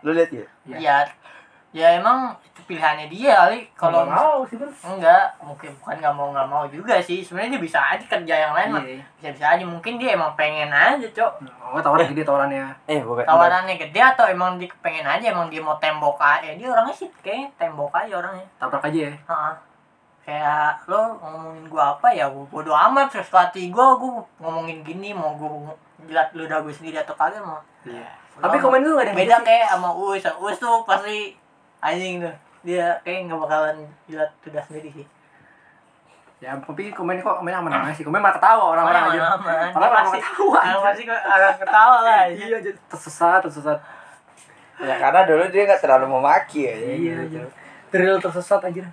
S3: Lu liat ya?
S2: Ya, ya emang itu pilihannya dia kali
S1: kalau
S2: kalau
S1: mau sih kan
S2: enggak mungkin bukan nggak mau nggak mau juga sih sebenarnya dia bisa aja kerja yang lain mah
S1: Iya.
S2: bisa bisa aja mungkin dia emang pengen aja cok
S1: Oh, tawaran gede tawarannya.
S3: Eh, bukan.
S2: tawarannya gede atau emang dia pengen aja emang dia mau tembok aja dia orangnya sih kayaknya tembok aja orangnya
S1: Tabrak aja ya.
S2: Heeh. kayak lo ngomongin gua apa ya gua bodo amat terus hati gua gua ngomongin gini mau gua jilat ludah gua sendiri atau kagak mau
S1: Iya.
S2: bodo
S1: Tapi
S2: amat.
S1: komen gue gak ada yang gitu
S2: beda kayak sama Uus Uus tuh pasti anjing tuh dia kayak nggak bakalan jilat ludah sendiri sih
S1: Ya, tapi komen kok komen aman aman sih. Komen mah ketawa orang-orang aja.
S2: aman
S1: Orang
S2: orang
S1: orang
S2: pasti
S1: ketawa.
S2: orang pasti orang ketawa lah ya.
S1: Iya, anjir. tersesat, tersesat.
S3: Ya karena dulu dia nggak terlalu memaki ya.
S1: Iya, anjir. Drill tersesat anjir.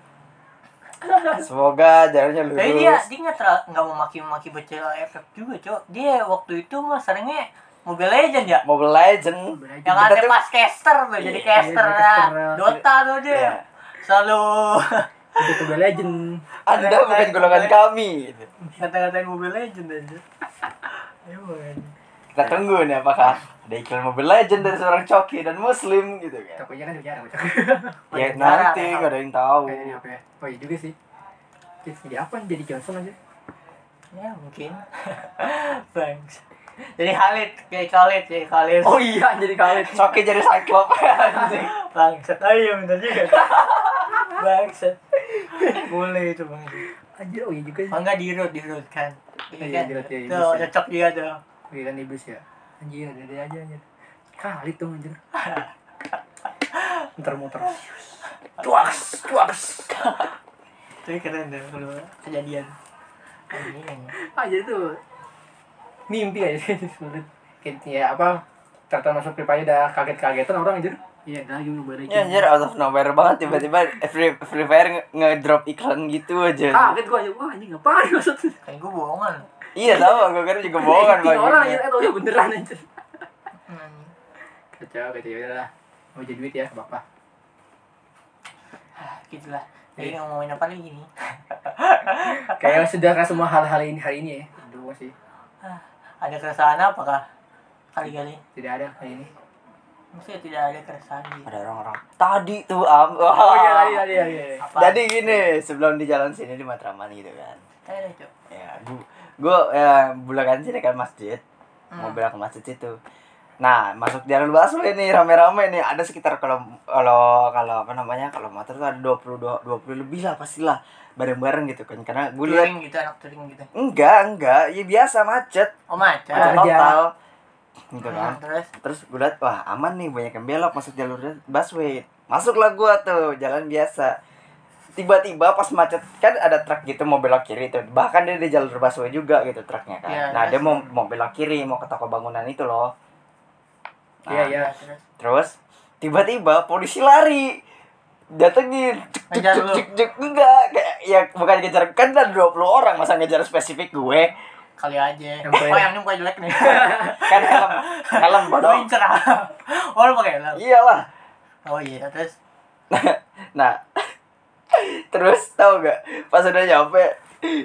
S3: iya. Semoga jalannya lurus.
S2: tapi dia dia nggak terlalu nggak mau maki maki bocil efek juga cok dia waktu itu mah seringnya Mobile Legend ya
S3: Mobile Legend.
S2: yang
S3: Kita
S2: ada
S3: tuh-
S2: pas caster tuh jadi
S3: Iya,
S2: caster
S1: jadi
S2: lah
S1: caster.
S2: Dota tuh dia
S3: Iya.
S2: selalu
S1: Itu Mobile Legend.
S3: Anda bukan golongan kami. gitu.
S2: kata-katain Mobile Legend aja Emang aja.
S3: Kita tunggu nih apakah ada iklan Mobile Legend dari seorang coki dan muslim gitu kan.
S1: Takutnya kan bicara bocah.
S3: Ya
S2: Banyak
S3: nanti
S2: darah,
S3: nggak ada yang tahu.
S1: Kayaknya apa ya? Oh, iya juga sih. Jadi- Jadi apa? Jadi Johnson aja.
S2: ya mungkin thanks jadi Khalid kayak Khalid jadi Khalid
S1: Oh iya, jadi Khalid.
S3: Coki jadi cyclop anjing.
S2: bangsat oh iya bener juga bangsat boleh itu bangsat
S1: Anjir, oh iya juga sih.
S2: oh enggak di root di root kan
S1: Iya,
S2: Iya
S1: di root,
S2: kan?
S1: iya, iya,
S2: Tuh,
S1: bisa.
S2: cocok dia tuh
S1: Iya kan iblis ya. Anjir, ada dia aja anjir. Khalid dong anjir. Muter-muter.
S3: Tuaks, tuaks.
S2: tapi keren deh kalau kejadian Anjing.
S1: ah jadi tuh mimpi aja sih sebenarnya kayak ya apa ternyata masuk pipa aja udah kaget-kagetan orang anjir iya dah gimana balik
S3: Ya anjir out of nowhere banget tiba-tiba Free, free Fire nge- ngedrop iklan gitu aja.
S1: kaget gua aja wah ini ngapain maksudnya
S2: kan gue bohongan
S3: Iya tahu gue kira juga bohongan
S1: Editing orang anjir
S3: banget.
S1: eh taunya beneran anjir
S2: Anjing.
S1: kacau kacau ya udahlah mau jadi duit ya bapak
S2: Ah, gitu lah jadi ngomongin apa lagi nih
S1: kayak sudah kan semua hal-hal ini hari ini ya dua sih
S2: Ah, ada keresahan apakah kali-kali
S1: tidak ada hari ini
S2: Maksudnya tidak ada keresahan gitu.
S3: ada orang-orang tadi tuh am
S1: Oh iya tadi tadi tadi. tadi.
S2: Apa?
S3: Jadi gini, sebelum di jalan sini di Matraman gitu kan.
S2: Tanya deh, Cok.
S3: Ya, gua gua ya, bulakan sini kan masjid. Mau
S2: Hmm.
S3: belok ke masjid situ. Nah, masuk jalan busway nih rame-rame nih. Ada sekitar kalau kalau kalau apa namanya? Kalau motor tuh ada 20 20 lebih lah pastilah bareng-bareng gitu kan. Karena gue lihat
S2: Touring gitu, anak touring gitu.
S3: enggak, enggak, ya biasa macet,
S2: Oh, macet.
S3: macet
S1: Ah, iya.
S3: total. Gitu
S2: Hmm,
S3: kan.
S2: terus
S3: Terus gue liat, wah aman nih banyak yang belok masuk jalur busway. Masuklah gue tuh, jalan biasa. Tiba-tiba pas macet, kan ada truk gitu mau belok kiri tuh. Bahkan dia di jalur busway juga gitu truknya kan.
S2: Iya,
S3: nah dia
S2: terus?
S3: mau, mau belok kiri, mau ke toko bangunan itu loh. Nah,
S1: Iya iya.
S2: Nah, terus
S3: Terus tiba-tiba polisi lari datengin cek
S2: Ngejar
S3: cek
S2: lu.
S3: cek cek, cek. enggak kayak ya bukan ngejar kan ada 20 orang masa ngejar spesifik gue
S2: kali aja.
S1: Yang
S2: Oh,
S1: paling-
S2: yang ini bukan jelek nih.
S3: kan helm helm bodoh
S2: Bodoh cerah. Oh, lu pakai helm.
S3: iyalah
S2: Oh iya, terus
S3: Nah, terus tau gak pas udah nyampe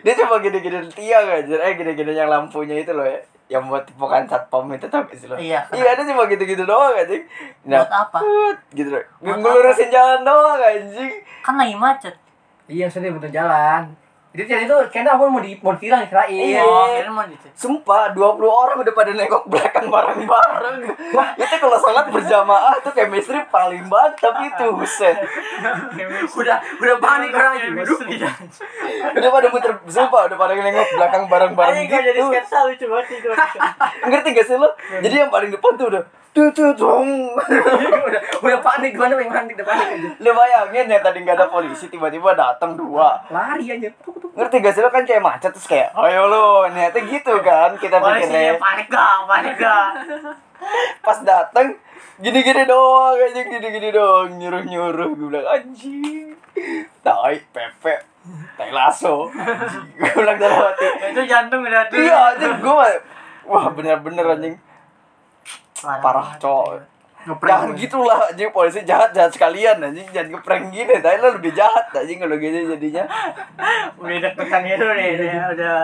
S3: dia cuma gini-gini tiang aja, eh gini-gini yang lampunya itu loh ya, yang buat tipukan satpam itu tau gak sih lo?
S2: Iya.
S3: Iya dia cuma gitu-gitu doang anjing. Nah.
S2: Buat apa?
S3: tut, Gitu loh,
S2: Buat
S3: ngelurusin jalan doang anjing.
S2: kan lagi macet.
S1: Iya maksudnya bentuk jalan. Jadi jadi itu kayaknya aku mau di mau ditilang dikirain.
S3: Iya.
S2: Oh, kira mau gitu.
S3: Sumpah, 20 orang udah pada nengok belakang bareng-bareng. Wah, itu kalau salat berjamaah tuh chemistry paling mantap itu, buset.
S1: Udah udah iya. panik orang aja.
S3: Udah pada muter, sumpah udah pada nengok belakang bareng-bareng
S2: Ayo
S3: gitu.
S2: gue jadi sketsa lucu banget sih itu.
S3: Ngerti gak sih lo? Jadi yang paling depan tuh udah tuh tuh dong.
S1: udah udah panik gimana pengen panik udah panik aja.
S3: Lo bayangin ya tadi gak ada polisi tiba-tiba datang dua.
S1: Lari aja. Tuk, tuk.
S3: Ngerti gak sih lo kan kayak macet terus kayak ayo lo niatnya gitu kan kita
S2: Polisinya
S3: pikirnya
S2: ya, panik gak, panik gak.
S3: pas datang gini-gini doang aja gini-gini doang nyuruh-nyuruh gue bilang anjing tai pepe tai lasso anjing." gue bilang dalam hati
S2: Itu jantung udah tuh.
S3: iya anjing gue wah bener-bener anjing parah,
S2: banget.
S3: cowok.
S1: Ngeprank
S3: Jangan
S1: gue.
S3: gitulah anjing polisi jahat jahat sekalian anjing jangan ngeprank gini tapi lo lebih jahat anjing kalau gini jadinya
S2: Udah deg-degan gitu deh,
S3: Iya.
S2: udah- udah.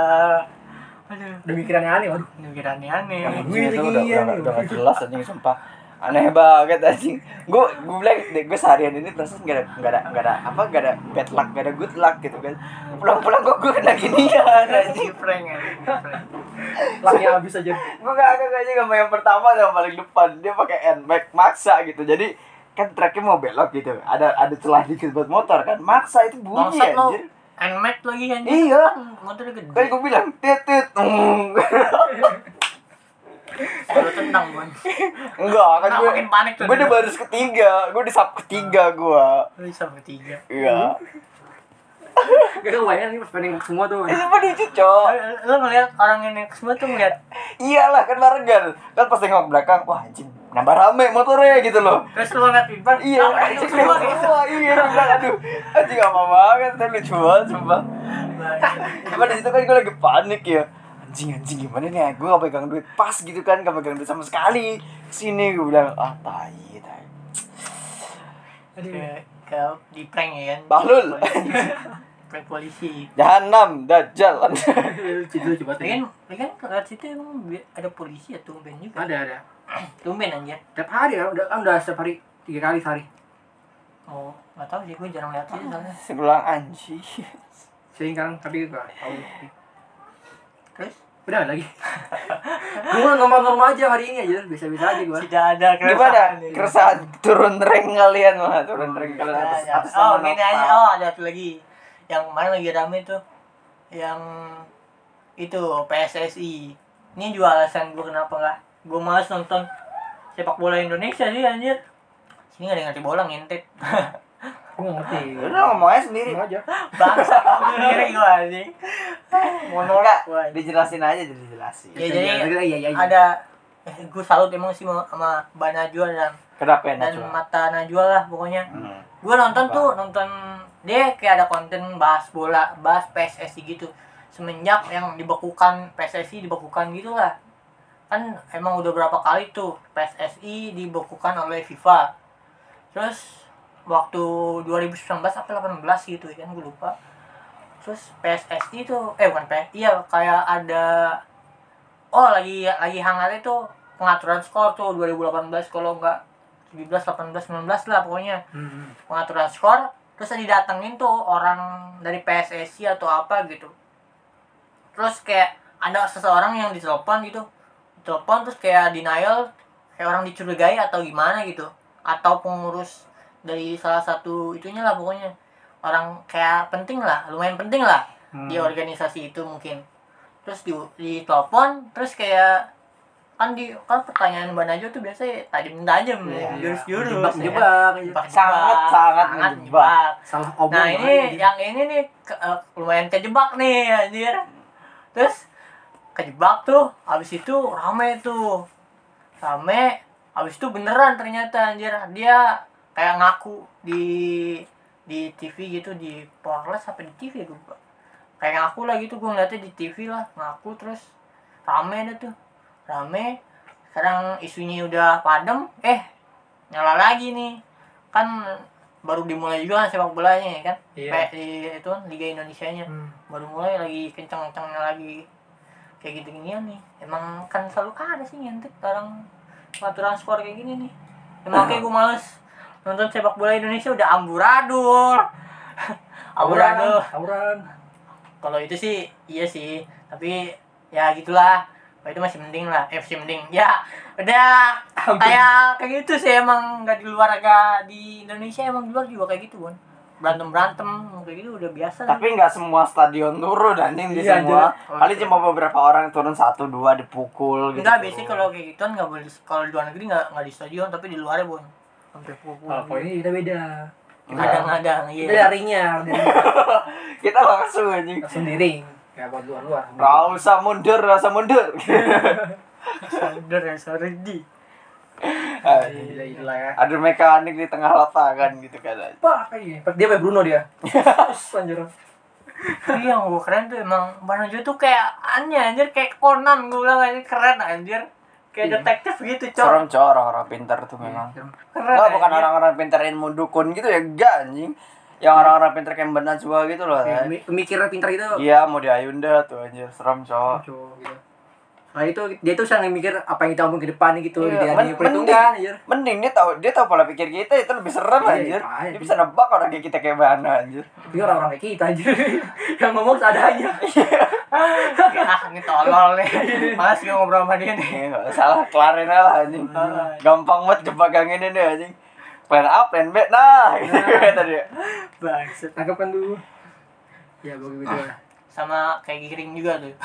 S2: Aduh,
S1: Udah mikirannya aneh waduh.
S2: ini kira aneh.
S1: Gue
S3: Anjing, itu
S1: lagi
S3: udah
S1: iya
S3: udah
S1: nih.
S3: udah gak jelas anjing sumpah aneh banget anjing gue gue bilang gue seharian ini proses gak ada gak ada gak ada apa gak ada bad luck gak ada good luck gitu kan pulang-pulang gue gue kena ginian anjing
S2: Si prank ya. si prank.
S1: Laknya habis aja.
S3: gue gak agak aja sama yang pertama sama yang paling depan dia pakai handbag maksa gitu jadi kan treknya mau belok gitu ada ada celah dikit buat motor kan maksa itu bunyi
S2: Bangsat lo.
S3: anjir
S2: Nmax lagi anjing.
S3: Iya.
S2: Motor
S3: kan
S2: gede.
S3: gue bilang tit tit mm.
S2: Kalau tendang gue.
S3: enggak kan
S2: Nah,
S3: gue
S2: makin panik tuh.
S3: gue di baris ketiga gue di sub ketiga gue
S2: Lu sampai tiga.
S3: iya
S2: Hmm.
S1: Gak kebayang nih pas pengen semua tuh.
S3: itu mah lucu cok
S2: Lu ngeliat orang yang naik semua tuh ngeliat
S3: iyalah kan barengan kan pas nengok belakang wah anjing nambah rame motornya gitu loh
S2: Terus lu ngeliat Ivan,
S3: iya
S2: ah,
S3: anjing
S2: itu
S3: nengok
S2: semua gitu.
S3: semua iya gue bilang aduh anjing apa banget tuh lucu banget sumpah Cuma di situ kan gue lagi panik ya anjing anjing gimana nih gue gak pegang duit pas gitu kan gak pegang duit sama sekali sini gue bilang ah tai tai
S1: Aduh.
S2: Ke- ke di prank ya kan
S3: Bahlul.
S2: Polisi. prank polisi
S3: jahanam dajjal
S1: Lucu lucu banget.
S3: Iya.
S1: ya.
S2: Lagian, lagian kalau situ emang bi- ada polisi ya tumben juga
S1: Ada ada.
S2: Tumben aja
S1: Tiap hari ya, udah kan udah setiap hari tiga kali sehari.
S2: Oh, gak tau sih, gue jarang liat sih soalnya
S3: Terus gue bilang anjing
S1: Sering kan tapi gak tahu.
S2: Terus?
S1: Udah nggak lagi. Gue normal-normal aja hari ini aja, biasa-biasa aja gue.
S2: Tidak ada
S3: gimana
S2: nih.
S3: keresahan turun ring kalian mah turun ring
S2: Tidak
S3: kalian
S2: ada.
S3: atas atas
S2: Oh,
S3: nama
S2: gini
S3: nopal.
S2: aja, oh ada satu lagi Yang kemarin lagi rame tuh Yang itu, PSSI Ini juga alasan gue kenapa gak Gue males nonton sepak bola Indonesia sih anjir Sini gak ada yang ngerti bola ngintit
S1: Gue nggak ngerti.
S3: Ya Udah ngomong aja sendiri.
S1: Ngomong aja.
S2: bangsa sendiri gua anjing
S3: Monorak.
S2: Wah,
S3: Dijelasin aja dijelasin.
S2: Ya, jadi
S1: iya, iya, iya.
S2: ada eh, gua salut emang sih sama- sama Mbak Najwa dan
S3: Kenapa enak
S2: dan
S3: cuma?
S2: mata Najwa lah pokoknya
S3: Hmm.
S2: gua nonton tuh nonton dia kayak ada konten bahas bola bahas PSSI gitu semenjak yang dibekukan PSSI dibekukan gitu lah kan emang udah berapa kali tuh PSSI dibekukan oleh FIFA terus waktu 2019 atau 18 gitu ya kan gue lupa terus PSSI itu eh bukan PS iya kayak ada oh lagi lagi hangat itu pengaturan skor tuh 2018 kalau nggak 17, 18, 19 lah pokoknya
S1: Hmm.
S2: pengaturan skor terus didatengin tuh orang dari PSSI atau apa gitu terus kayak ada seseorang yang ditelepon gitu telepon terus kayak denial kayak orang dicurigai atau gimana gitu atau pengurus dari salah satu itunya lah pokoknya orang kayak penting lah lumayan penting lah
S1: Hmm.
S2: di organisasi itu mungkin terus di ditelepon terus kayak kan di kan pertanyaan mbak Najwa tuh biasanya tajam tajam
S3: Iya.
S2: jurus jurus
S1: Jebak-jebak.
S3: Sangat, sangat menjebak.
S1: iya. Salah obrolan.
S2: Nah ini yang ini nih ke- eh, lumayan kejebak nih anjir. Terus kejebak tuh, abis itu rame tuh, rame. Abis itu beneran ternyata anjir dia kayak ngaku di di TV gitu di Porles apa di TV gue lupa. kayak ngaku lah gitu gue ngeliatnya di TV lah ngaku terus rame deh tuh rame sekarang isunya udah padam eh nyala lagi nih kan baru dimulai juga kan sepak bolanya ya kan
S1: Iya.
S2: Kayak di itu kan Liga Indonesia nya
S1: Hmm.
S2: baru mulai lagi kenceng-kencengnya lagi kayak gitu ginian nih emang kan selalu ada sih nyentik orang peraturan skor kayak gini nih emang kayak gue males nonton sepak bola Indonesia udah amburadul amburadul
S1: Tawuran.
S2: kalau itu sih iya sih tapi ya gitulah kalau itu masih mending lah eh masih mending ya udah
S1: Ampun.
S2: kayak kayak gitu sih emang nggak di luar agak di Indonesia emang di luar juga kayak gitu bon berantem berantem kayak gitu udah biasa lah.
S3: Tapi nggak semua stadion turun anjing di
S1: Iya,
S3: semua.
S2: anjir.
S3: Paling cuma beberapa orang turun satu dua dipukul gitu.
S2: Enggak, biasanya kalau kayak gituan nggak boleh kalau di luar negeri nggak nggak di stadion tapi di ya, luarnya bon sampai pukul
S1: Kalau poinnya kita beda.
S3: Iya.
S2: kadang-kadang
S1: Kita
S2: iya
S1: darinya.
S3: kita langsung anjing.
S1: Sendiri. Ya buat luar-luar.
S3: Gak usah mundur, gak usah mundur.
S2: Bener ya sorry di
S3: iya,
S1: Gila-gila ya.
S3: Ada mekanik di tengah lapangan gitu kan. anjing.
S1: Apa kayaknya? Dia kayak Bruno dia. Terus anjir.
S2: Tapi yang gue keren tuh emang Bang Najwa tuh kayak aneh anjir kayak Conan gue bilang anjir keren anjir kayak
S3: Iya.
S2: detektif gitu cok Iya,
S3: Serem cowok orang-orang pintar tuh memang.
S2: keren
S3: Enggak, bukan
S2: anjir.
S3: orang-orang pintar yang mau dukun gitu ya, enggak anjing. Yang orang-orang pintar Iya. kayak Mbak Najwa gitu loh. anjing.
S1: Mikirnya pintar gitu.
S3: Iya, mau di Ayunda tuh anjir, serem cowok.
S1: Cowok gitu. Nah itu dia tuh sering mikir apa yang kita omongin ke depan gitu.
S3: Iya,
S1: Dia
S3: men-
S1: ada perhitungan anjir.
S3: Mending dia tahu dia tahu pola pikir kita itu lebih serem
S1: Iya,
S3: anjir.
S1: iya.
S3: Dia bisa nebak orang kayak kita kayak mana anjir.
S1: Tapi orang-orang kayak kita anjir. yang ngomong seadanya.
S2: ah ini tolol nih malas gue ngobrol sama dia nih
S3: Iya, nggak salah kelarin aja lah anjing. Gampang banget jebakan ini nih anjing. Plan A, plan B, nah gitu kan tadi.
S2: Bangsat.
S1: Tangkap kan dulu. Ya bagi gitu lah.
S2: sama kayak giring juga tuh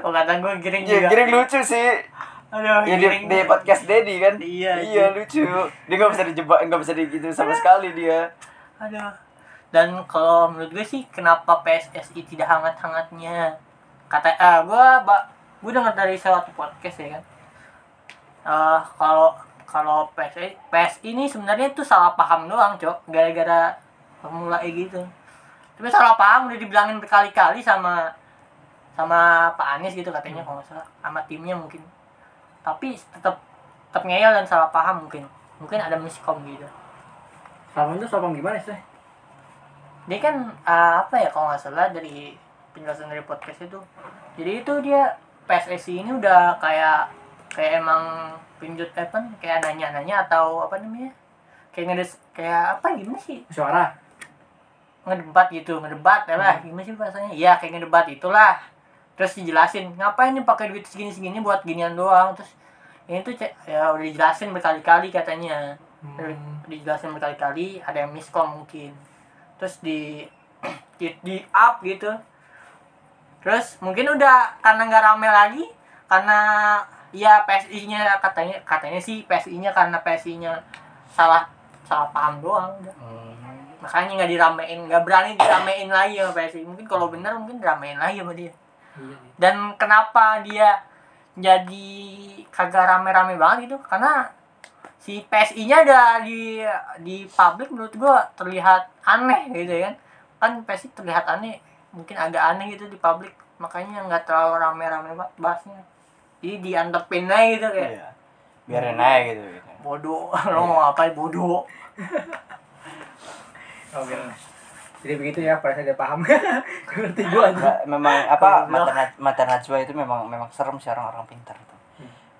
S2: oh kata gue giring
S3: Ya,
S2: juga
S3: giring lucu sih.
S2: aduh
S3: Ya, di, di podcast Dedi kan.
S2: Iya,
S3: Iya lucu. Dia nggak bisa dijebak, nggak bisa digitu sama sekali dia.
S2: Aduh. Dan kalau menurut gue sih kenapa PSSI tidak hangat-hangatnya? Kata ah gua gue gue dengar dari salah satu podcast ya kan. Eh, kalau kalau PSSI, PSI ini sebenarnya itu salah paham doang, Cok. Gara-gara pemula gitu. Tapi salah paham udah dibilangin berkali-kali sama sama Pak Anies gitu katanya kalau nggak salah sama timnya mungkin. Tapi tetap tetap ngeyel dan salah paham mungkin. Mungkin ada miskom gitu.
S1: Salman tuh salman gimana sih?
S2: dia kan uh, apa ya kalau nggak salah dari penjelasan dari podcast itu jadi itu dia PSSI ini udah kayak kayak emang pinjut eh, apa kayak nanya-nanya atau apa namanya kayak ngedes kayak apa gimana sih
S1: Suara.
S2: ngedebat gitu ngedebat ya lah gimana sih bahasanya ya kayak ngedebat itulah terus dijelasin ngapain nih pakai duit segini segini buat ginian doang terus ini tuh ce- ya udah dijelasin berkali-kali katanya
S1: Hmm.
S2: dijelasin berkali-kali ada yang miskom mungkin terus di di, di up gitu terus mungkin udah karena nggak rame lagi karena ya PSI nya katanya katanya sih PSI nya karena PSI nya salah salah paham doang udah. makanya nggak diramein nggak berani diramein lagi sama PSI mungkin kalau bener mungkin diramein lagi sama dia
S1: Iya.
S2: dan kenapa dia jadi kagak rame-rame banget gitu karena si PSI-nya ada di di publik menurut gua terlihat aneh gitu ya kan kan PSI terlihat aneh mungkin agak aneh gitu di publik makanya nggak terlalu rame-rame banget bahasnya jadi diantepin aja gitu kayak
S3: Iya. Biarin aja gitu. gitu.
S2: bodoh lo mau ngapain bodoh
S1: Oh, biar- Jadi begitu ya, pada saya udah paham. Ngerti gua aja.
S3: Nah, Memang apa
S2: Goblok.
S3: mata Naj- mata Najwa itu
S2: Hmm.
S3: memang memang serem sih orang-orang pintar itu.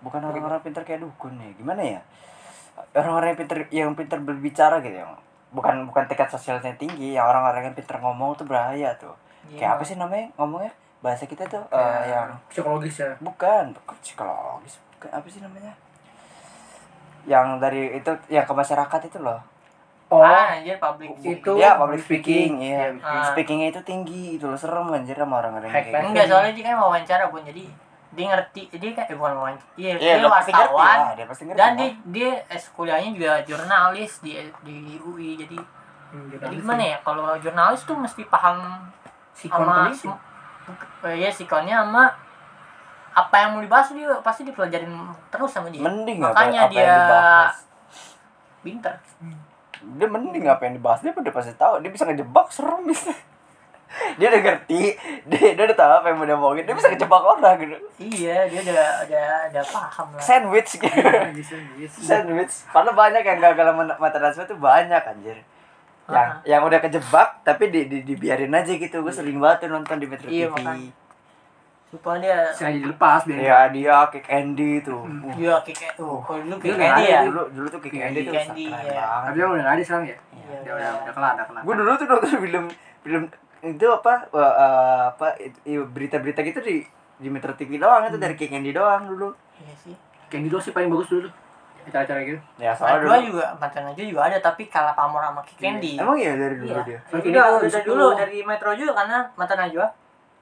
S3: Bukan orang-orang pintar kayak dukun ya. Gimana ya? orang-orang yang pinter yang pinter berbicara gitu yang bukan bukan tingkat sosialnya tinggi ya orang-orang yang pinter ngomong tuh bahaya tuh
S2: Gitu. Iya.
S3: kayak apa sih namanya ngomongnya bahasa kita tuh eh,
S1: Kayak
S3: yang
S1: psikologis ya
S3: bukan bukan psikologis bukan apa sih namanya yang dari itu yang ke masyarakat itu loh
S1: oh
S2: Ah, anjir public speaking.
S1: itu
S3: ya public speaking ya
S1: Iya,
S2: Ah.
S3: speakingnya itu tinggi itu loh serem anjir sama orang-orang yang
S1: Hack
S3: kayak gitu.
S2: Enggak, soalnya dia kan wawancara pun jadi dia ngerti dia kan eh, bukan wawancara dia,
S3: Iya,
S2: dia
S3: dia pasti ngerti
S2: wartawan
S3: lah, dia pasti ngerti
S2: dan
S3: lah.
S2: dia dia eh, kuliahnya juga jurnalis di di UI jadi
S1: Hmm,
S2: jadi
S1: jurnalis
S2: gimana
S1: sih.
S2: ya kalau jurnalis tuh mesti paham
S1: sikon
S2: sama
S1: polisi
S2: eh, ya sikonnya sama apa yang mau dibahas dia pasti dipelajarin terus sama dia
S3: mending apa,
S2: makanya
S3: apa yang
S2: dia-
S3: dibahas
S2: pinter
S3: dia mending apa yang dibahas dia udah pasti tahu dia bisa ngejebak serem bisa dia udah ngerti dia, dia udah tahu apa yang mau diomongin dia
S2: Hmm.
S3: bisa ngejebak orang gitu
S2: iya dia udah udah udah paham lah
S3: sandwich gitu
S1: Bisa, bisa.
S3: sandwich padahal banyak yang gagal men- mata nasional tuh banyak anjir yang
S2: Ah.
S3: yang udah kejebak tapi di, di- dibiarin aja gitu gue sering banget tuh nonton di Metro
S2: Iya,
S3: TV
S2: makanya. supaya dia
S1: sengaja dilepas biar
S3: Iya dia Kick Andy tuh Uh,
S2: dia kayak oh kalau dulu
S1: Dulu
S2: kayak
S1: nggak
S2: Andy
S1: ada
S2: ya
S3: dulu dulu tuh Kick
S1: Kick
S3: Andy tuh
S2: Andy, Andy,
S3: keren
S1: tapi
S2: iya.
S3: banget
S1: dia udah nggak ada sekarang ya
S2: Iya,
S1: dia udah
S2: udah.
S1: udah kelar udah kelar
S3: gue dulu tuh nonton film film itu apa eh, eh, apa itu- iya, berita-berita gitu di di Metro TV doang itu
S2: Hmm.
S3: dari King Andy doang dulu
S2: iya sih
S1: kayak gitu sih paling bagus dulu tuh acara-acara gitu
S2: Nah,
S3: ya soalnya
S2: dua
S3: dulu
S2: juga mantan aja juga ada tapi kalah pamor sama Ki Candy.
S3: emang iya dari dulu
S2: Iya.
S3: dia
S1: Tapi dulu
S2: udah, udah
S1: di
S2: dulu
S1: situ-
S2: dari Metro juga karena mantan Najwa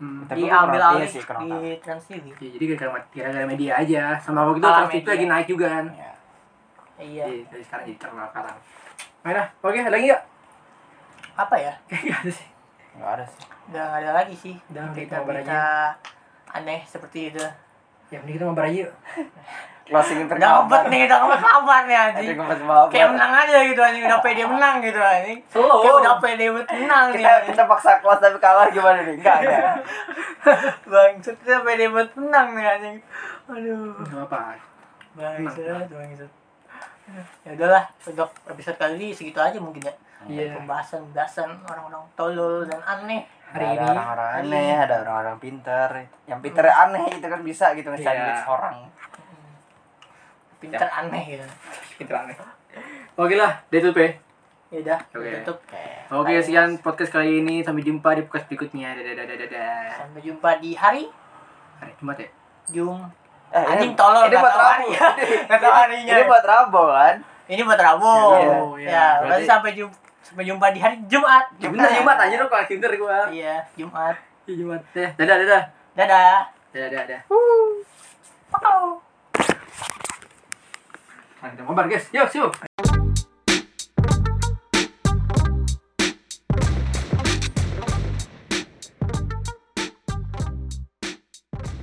S1: hmm.
S3: Tapi gua
S2: diambil
S3: kurang- iya
S2: alih
S3: sih, kurang
S2: di
S3: tahu.
S2: Trans TV.
S1: Ya, jadi gara-gara gara-gara media aja sama waktu itu
S2: Alam
S1: trans itu
S2: media.
S1: lagi naik juga kan
S3: Iya.
S2: Iya.
S1: jadi dari sekarang jadi terkenal sekarang Nah, dah. oke ada lagi nggak
S2: Apa ya?
S1: Nggak ada sih
S3: nggak ada sih
S2: Udah nggak ada lagi sih.
S1: Udah,
S2: kita
S1: kita
S2: kita aneh seperti itu.
S1: ya mending kita mabar aja yuk
S3: closingin
S2: Udah ngebet nih, udah ngebet kabar nih anjing. Kayak menang aja gitu anjing, udah pede menang gitu anjing.
S1: Slow.
S2: Kayak udah pede banget menang nih.
S3: kita
S2: anjing.
S3: kita paksa kelas tapi kalah gimana nih enggak enggak
S2: Bangsat, kita pede banget menang nih anjing. Aduh.
S1: nggak apa
S2: Bangsat, bangsat. Ya udahlah, untuk episode kali ini segitu aja mungkin ya.
S1: Iya.
S2: Pembahasan-pembahasan orang-orang tolol dan aneh.
S1: Hari
S3: ada
S1: ini-
S3: orang-orang aneh ada orang-orang pinter yang pinter
S2: Hmm.
S3: aneh itu kan bisa gitu nge sandwich
S1: Iya.
S3: orang
S1: Ya.
S2: Pinter aneh gitu.
S1: kita aneh ya. oke lah day to pay
S2: Ya udah,
S1: Oke.
S2: tutup.
S1: oke sekian podcast kali ini sampai jumpa di podcast berikutnya dadah dadah dadah
S2: Sampai jumpa di hari
S1: hari jumat ya
S2: Jum.
S3: Eh, ini-
S2: Anjing tolol,
S3: ini
S2: nggak
S3: buat
S2: tahu
S3: rabu
S2: harinya. Nggak tahu harinya.
S3: ini buat rabu kan
S2: Ini buat Rabu.
S1: Iya, iya.
S2: Ya, berarti
S3: Berarti-
S2: sampai jumpa sampai jumpa di hari Jumat.
S1: Ya bener Jumat aja dong kalau Tinder gua.
S2: Iya, Jumat.
S1: Ya, Jumat. Ya, dadah dadah.
S2: Dadah.
S1: Dadah dadah.
S2: Wow.
S1: Nah, kita ngobrol guys. Yuk, yuk.